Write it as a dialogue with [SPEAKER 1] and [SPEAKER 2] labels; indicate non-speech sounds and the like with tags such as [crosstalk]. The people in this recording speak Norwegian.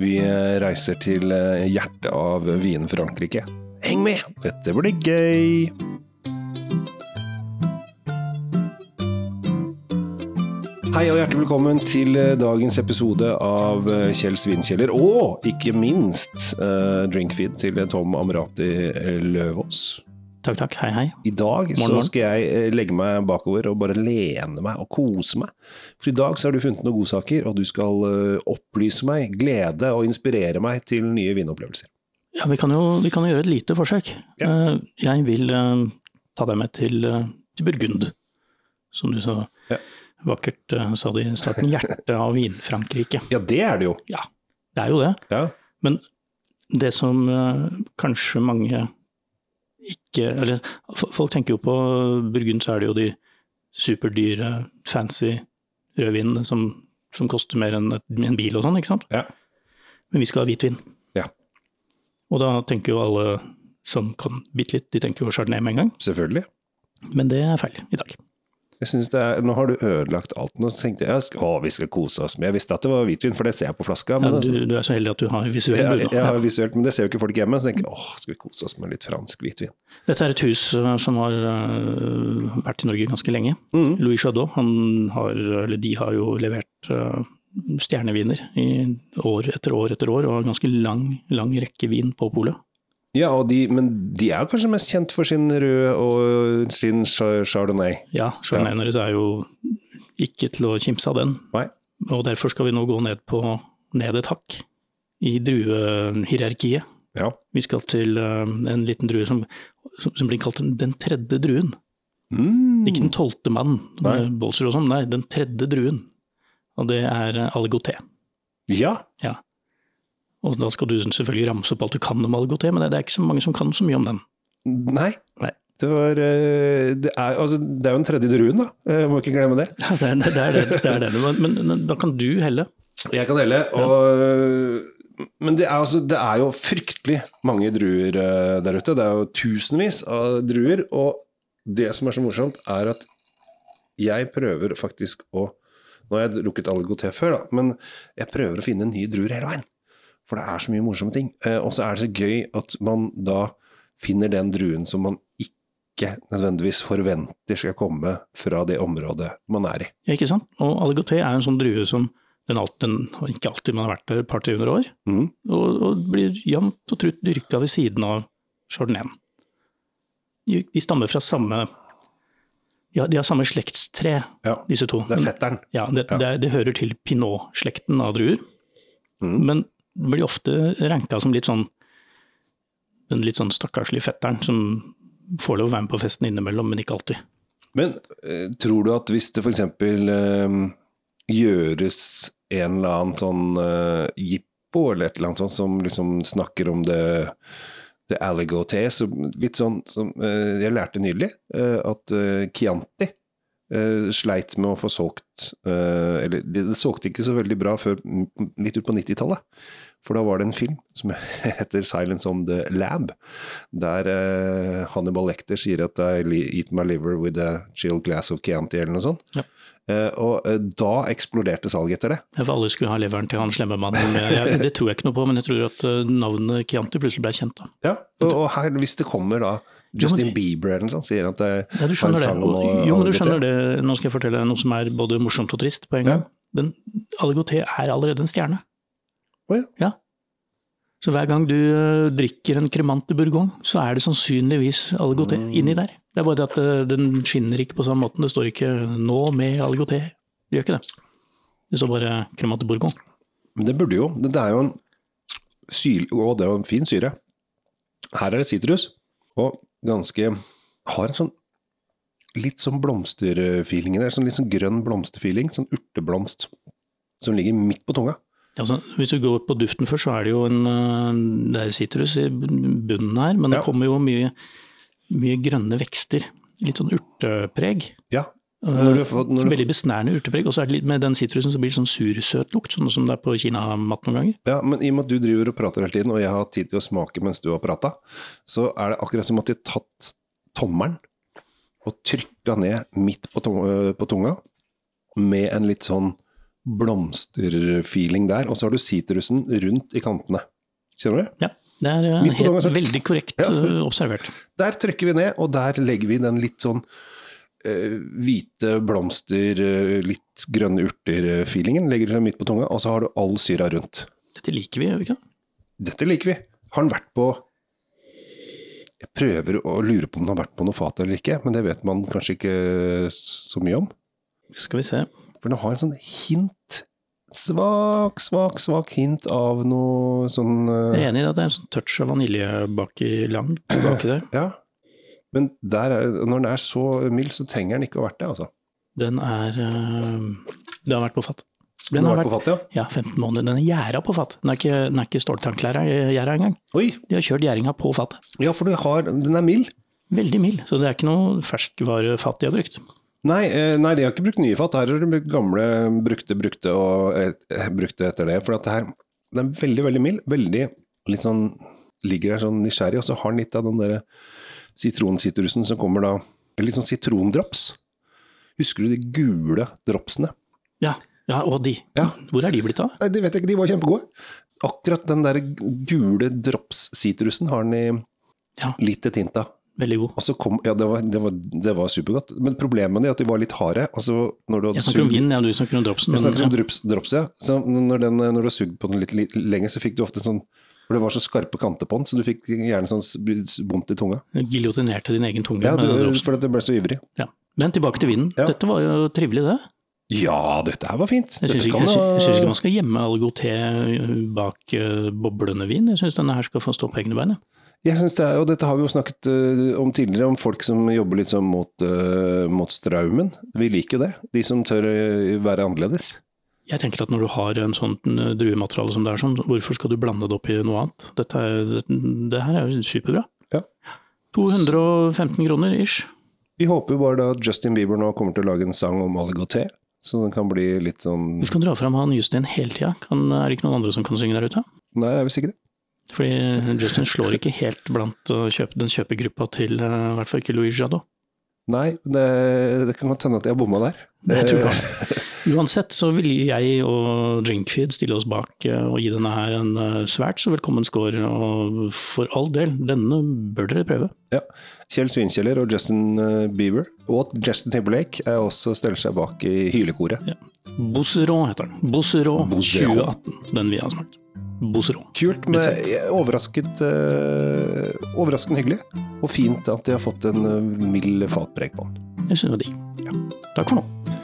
[SPEAKER 1] Vi eh, reiser til eh, hjertet av Wien, Frankrike. Heng med! Dette blir gøy! Hei og hjertelig velkommen til eh, dagens episode av eh, Kjells vinkjeller, og ikke minst eh, drinkfeed til eh, Tom Amrati eh, Løvaas.
[SPEAKER 2] Takk, takk. Hei, hei.
[SPEAKER 1] I dag så
[SPEAKER 2] Morgen, morgen.
[SPEAKER 1] skal jeg eh, legge meg bakover og bare lene meg og kose meg. For i dag så har du funnet noen godsaker, og du skal eh, opplyse meg, glede og inspirere meg til nye vinopplevelser.
[SPEAKER 2] Ja, vi kan jo vi kan jo gjøre et lite forsøk.
[SPEAKER 1] Ja.
[SPEAKER 2] Eh, Jeg vil eh, ta deg med til, eh, til Burgund, som du så
[SPEAKER 1] Ja.
[SPEAKER 2] vakkert eh, sa det i starten. Hjertet av Vin-Frankrike.
[SPEAKER 1] Ja, det er det jo.
[SPEAKER 2] Det er jo det.
[SPEAKER 1] Ja,
[SPEAKER 2] Det som eh, kanskje mange ikke Eller f- folk tenker jo på Burgund, så er det jo de superdyre, fancy rødvinene som, som koster mer enn et- en bil og sånn, ikke sant?
[SPEAKER 1] Ja.
[SPEAKER 2] Men vi skal ha hvitvin.
[SPEAKER 1] Ja.
[SPEAKER 2] Og da tenker jo alle som kan bitte litt, de tenker jo chardonnay med en gang.
[SPEAKER 1] selvfølgelig.
[SPEAKER 2] Men det er feil i dag.
[SPEAKER 1] Jeg synes det er, Nå har du ødelagt alt. Nå så tenkte jeg jeg skal- å, vi skal kose oss med Jeg visste at det var hvitvin, for det ser jeg på flaska.
[SPEAKER 2] Ja,
[SPEAKER 1] Men, altså,
[SPEAKER 2] du, du er så heldig at du har visuell
[SPEAKER 1] ja,
[SPEAKER 2] bunad.
[SPEAKER 1] ja, visuelt, men det ser jo ikke folk hjemme. Så tenker jeg åh, skal vi kose oss med litt fransk hvitvin.
[SPEAKER 2] Dette er et hus eh, som har eh, vært i Norge ganske lenge.
[SPEAKER 1] Mhm.
[SPEAKER 2] Louis Chaudot, han har, eller de har jo levert eh, stjerneviner i år etter år etter år, og har ganske lang, lang rekke vin på polet.
[SPEAKER 1] Ja, og de, Men de er jo kanskje mest kjent for sin røde og sin cha- chardonnay.
[SPEAKER 2] Ja, Chardonnay deres er jo ikke til å kimse av den.
[SPEAKER 1] Nei.
[SPEAKER 2] Og derfor skal vi nå gå ned, på, ned et hakk i druehierarkiet.
[SPEAKER 1] Ja.
[SPEAKER 2] Vi skal til eh, en liten drue som, som, som blir kalt den, den tredje druen.
[SPEAKER 1] Mm.
[SPEAKER 2] Ikke den tolvte mann,
[SPEAKER 1] Nei.
[SPEAKER 2] med Bolser og sånn, nei, den tredje druen. Og det er eh, aligoté.
[SPEAKER 1] Ja,
[SPEAKER 2] Og da skal du selvfølgelig ramse opp alt du kan om Algoté, men det er ikke så mange som kan så mye om [laughs] den.
[SPEAKER 1] Nei.
[SPEAKER 2] Nei.
[SPEAKER 1] Det, var, eh, det, er, altså, det er jo en tredje druen, da. Eh, Må ikke glemme det.
[SPEAKER 2] Det er det, er det, det, er det. Men, men, men da kan du helle.
[SPEAKER 1] Jeg kan dele. Og, men det er, altså, det er jo fryktelig mange druer eh, der ute. Det er jo tusenvis av druer. Og det som er så morsomt, er at jeg prøver faktisk å Nå har jeg drukket Algoté før, da, men jeg prøver å finne nye druer hele veien. For det er så mye morsomme ting. Eh, Og så er det så gøy at man da finner den druen som man ikke nødvendigvis forventer skal komme fra det området man er i.
[SPEAKER 2] Ja, ikke sant? Og Algoté er en sånn drue som den, alt, den har ikke alltid man har vært der et par 300 år,
[SPEAKER 1] Mhm.
[SPEAKER 2] og, og blir jevnt og trutt dyrka ved siden av chardonnayen. De, de stammer fra samme de har, de har samme slektstre,
[SPEAKER 1] Ja,
[SPEAKER 2] disse to.
[SPEAKER 1] det er fetteren.
[SPEAKER 2] Ja, det,
[SPEAKER 1] Ja.
[SPEAKER 2] Det, er- det hører til pinot-slekten av druer.
[SPEAKER 1] Mhm.
[SPEAKER 2] Men blir ofte ranka som litt sånn den litt sånn stakkarslige fetteren som får lov å være med på festen innimellom, men ikke alltid.
[SPEAKER 1] Men eh, tror du at hvis det f.eks. Eh, gjøres en eller annen sånn eh, jippo eller et eller annet sånt som liksom snakker om det det Aligoté, så litt sånn som eh, jeg lærte nylig, eh, at eh, Chianti eh, sleit med å få solgt eh, Eller det det solgte ikke så veldig bra før m- litt ut på 90-tallet. For da var det en film som [laughs] heter 'Silence on the Lab', der eh, Hannibal Lecter sier at 'I li- eat my liver with a chilled glass of Chianti', eller noe sånt.
[SPEAKER 2] Ja.
[SPEAKER 1] Eh, og eh, da eksploderte salget etter det.
[SPEAKER 2] For alle skulle ha leveren til han slemme mannen. men jeg- Det tror jeg ikke noe på, men jeg tror at eh, navnet Chianti plutselig ble kjent. Da.
[SPEAKER 1] Ja, og, og her, hvis det kommer da Justin
[SPEAKER 2] men-
[SPEAKER 1] Bieber eller noe sånt, sier at eh, det er
[SPEAKER 2] Ja, du skjønner
[SPEAKER 1] Har
[SPEAKER 2] det.
[SPEAKER 1] en sang om å-
[SPEAKER 2] Og, jo, men du
[SPEAKER 1] Aligoté.
[SPEAKER 2] skjønner det. Nå skal jeg fortelle deg noe som er både morsomt og trist på en
[SPEAKER 1] Ja.
[SPEAKER 2] gang. Den Aligoté er allerede en stjerne.
[SPEAKER 1] Å ja.
[SPEAKER 2] Så hver gang du eh, drikker en kremant i Bourgogne, så er det sannsynligvis Aligoté
[SPEAKER 1] Mm.
[SPEAKER 2] inni der. Det er bare det at eh, den skinner ikke på samme måten. Det står ikke 'nå med Aligoté'. Det gjør ikke det. Det står bare kremant i Bourgogne.
[SPEAKER 1] Men det burde jo. Det, det er jo en syl... Å, det er jo en fin syre. Her er det sitrus. Og ganske Har en sånn litt sånn blomsterfeeling i det. Sånn litt sånn grønn blomsterfeeling. Sånn urteblomst som ligger midt på tunga.
[SPEAKER 2] Altså, hvis du går på duften først, så er det jo en eh, Det er sitrus i bunnen her, men
[SPEAKER 1] Ja.
[SPEAKER 2] det kommer jo mye, mye grønne vekster. Litt sånn urtepreg.
[SPEAKER 1] Ja. Når du har
[SPEAKER 2] Eh,
[SPEAKER 1] fått, når du,
[SPEAKER 2] veldig besnærende urtepreg. Og så er det litt, med den sitrusen så blir det sånn sursøt lukt, sånn som det er på kinamat noen ganger.
[SPEAKER 1] ja, men i og med at du driver og prater hele tiden, og jeg har hatt tid til å smake mens du har prata, så er det akkurat som at de har tatt tommelen eh, og trykka ned midt på, tong- øh, på tunga med en litt sånn blomsterfeeling der. Og så har du sitrusen rundt i kantene. Kjenner du det?
[SPEAKER 2] Ja, det er eh,
[SPEAKER 1] Midt på
[SPEAKER 2] helt,
[SPEAKER 1] dagen, så-
[SPEAKER 2] veldig korrekt
[SPEAKER 1] Ja, så-
[SPEAKER 2] eh, observert.
[SPEAKER 1] Der trykker vi ned, og der legger vi den litt sånn eh, hvite blomster, eh, litt grønne urter-feelingen. Legger den midt på tunga, og så har du all syra rundt.
[SPEAKER 2] Dette liker vi, gjør vi ikke?
[SPEAKER 1] Dette liker vi. Har den vært på Jeg prøver å lure på om den har vært på noe fat eller ikke, men det vet man kanskje ikke så mye om.
[SPEAKER 2] Skal vi se.
[SPEAKER 1] For den har en sånn hint Svak, svak, svak hint av noe sånn eh,
[SPEAKER 2] Jeg er enig i at det er en sånn touch av vanilje baki langt baki der.
[SPEAKER 1] Ja. Men der er, når den er så mild, så trenger den ikke å ha vært det, altså.
[SPEAKER 2] Den er eh, Det har vært på fat. Den
[SPEAKER 1] Den
[SPEAKER 2] har
[SPEAKER 1] på
[SPEAKER 2] vært
[SPEAKER 1] fatet, ja.
[SPEAKER 2] ja, 15 måneder. Den er gjerda på fat. Den er ikke, den er ikke ståltanklgjerda engang.
[SPEAKER 1] Oi!
[SPEAKER 2] De har kjørt gjæringa på fatet.
[SPEAKER 1] Ja, for du har, den er mild.
[SPEAKER 2] Veldig mild, så det er ikke noe ferskvarefat de har brukt.
[SPEAKER 1] Nei, eh, nei, de har ikke brukt nye fat. Her har de brukt gamle, brukte, brukte og eh, brukte etter det. For at det her, den er veldig, veldig mild. Veldig litt sånn Ligger der sånn nysgjerrig, og så har den litt av den derre sitronsitrusen som kommer da Litt sånn sitrondrops. Husker du de gule dropsene?
[SPEAKER 2] Ja, ja og de.
[SPEAKER 1] Ja.
[SPEAKER 2] Hvor er de blitt av?
[SPEAKER 1] Nei, det vet jeg ikke, de var kjempegode. Akkurat den der gule drops-sitrusen har den i
[SPEAKER 2] Ja.
[SPEAKER 1] litt til tinta.
[SPEAKER 2] Veldig god.
[SPEAKER 1] Og så kom, ja, det var, det, var, det var supergodt. Men problemet med det er at de var litt harde. Altså, når du hadde
[SPEAKER 2] Jeg snakker om
[SPEAKER 1] sugd-
[SPEAKER 2] vinen, ja, du snakker om dropsen.
[SPEAKER 1] Jeg snakker om
[SPEAKER 2] Men,
[SPEAKER 1] sånn drops, drops ja. Så når, den, når du har sugd på den litt, litt lenger, så fikk du ofte en sånn For det var så skarpe kanter på den, så du fikk gjerne sånn s- vondt i tunga.
[SPEAKER 2] ja, giljotinerte din egen tunge
[SPEAKER 1] Ja,
[SPEAKER 2] med den
[SPEAKER 1] du,
[SPEAKER 2] dropsen.
[SPEAKER 1] for at du ble så ivrig.
[SPEAKER 2] Ja. Men tilbake til vinen.
[SPEAKER 1] Ja.
[SPEAKER 2] Dette var jo trivelig, det.
[SPEAKER 1] Ja, dette her var fint.
[SPEAKER 2] Jeg
[SPEAKER 1] Dette
[SPEAKER 2] syns ikke,
[SPEAKER 1] kan
[SPEAKER 2] jeg
[SPEAKER 1] ha-
[SPEAKER 2] syns- jeg syns ikke man skal gjemme Algoté bak eh, boblende vin. Jeg syns denne her skal få stå på egne bein. jeg.
[SPEAKER 1] Jeg synes det er, og Dette har vi jo snakket eh, om tidligere, om folk som jobber litt sånn mot, eh, mot straumen. Vi liker jo det. De som tør eh, være annerledes.
[SPEAKER 2] Jeg tenker at når du har en sånn eh, druemateriale som det er sånn, hvorfor skal du blande det opp i noe annet? Dette er, det, det her er jo superbra.
[SPEAKER 1] Ja.
[SPEAKER 2] 215 kroner ish.
[SPEAKER 1] Vi håper jo bare da at Justin Bieber nå kommer til å lage en sang om Aligoté, så den kan bli litt sånn
[SPEAKER 2] Du skal dra fram han Justin hele tida. Kan- Er det ikke noen andre som kan synge der ute?
[SPEAKER 1] Nei, jeg er visst ikke det.
[SPEAKER 2] Fordi Justin slår ikke helt blant eh, kjøp, den kjøpegruppa til eh, i hvert fall ikke Louis Jadot.
[SPEAKER 1] Nei, det, det kan godt hende at jeg bomma der.
[SPEAKER 2] Det tror jeg.
[SPEAKER 1] Eh,
[SPEAKER 2] Uansett så vil jeg og Drinkfeed stille oss bak eh, og gi denne her en eh, svært så velkommen score. Og for all del, denne bør dere prøve.
[SPEAKER 1] ja. Kjell Svinkjeller og Justin eh, Bieber, og at Justin Timberlake eh, også stiller seg bak i hylekoret.
[SPEAKER 2] Bosserå heter den. Bosserå
[SPEAKER 1] Bosserå.
[SPEAKER 2] 2018. Den vi har smakt. Bosserå.
[SPEAKER 1] Kult, men jeg er overrasket, eh, overraskende hyggelig. Og fint at de har fått en eh, mild fatpreg på den.
[SPEAKER 2] Jeg syns det var digg. Takk for nå.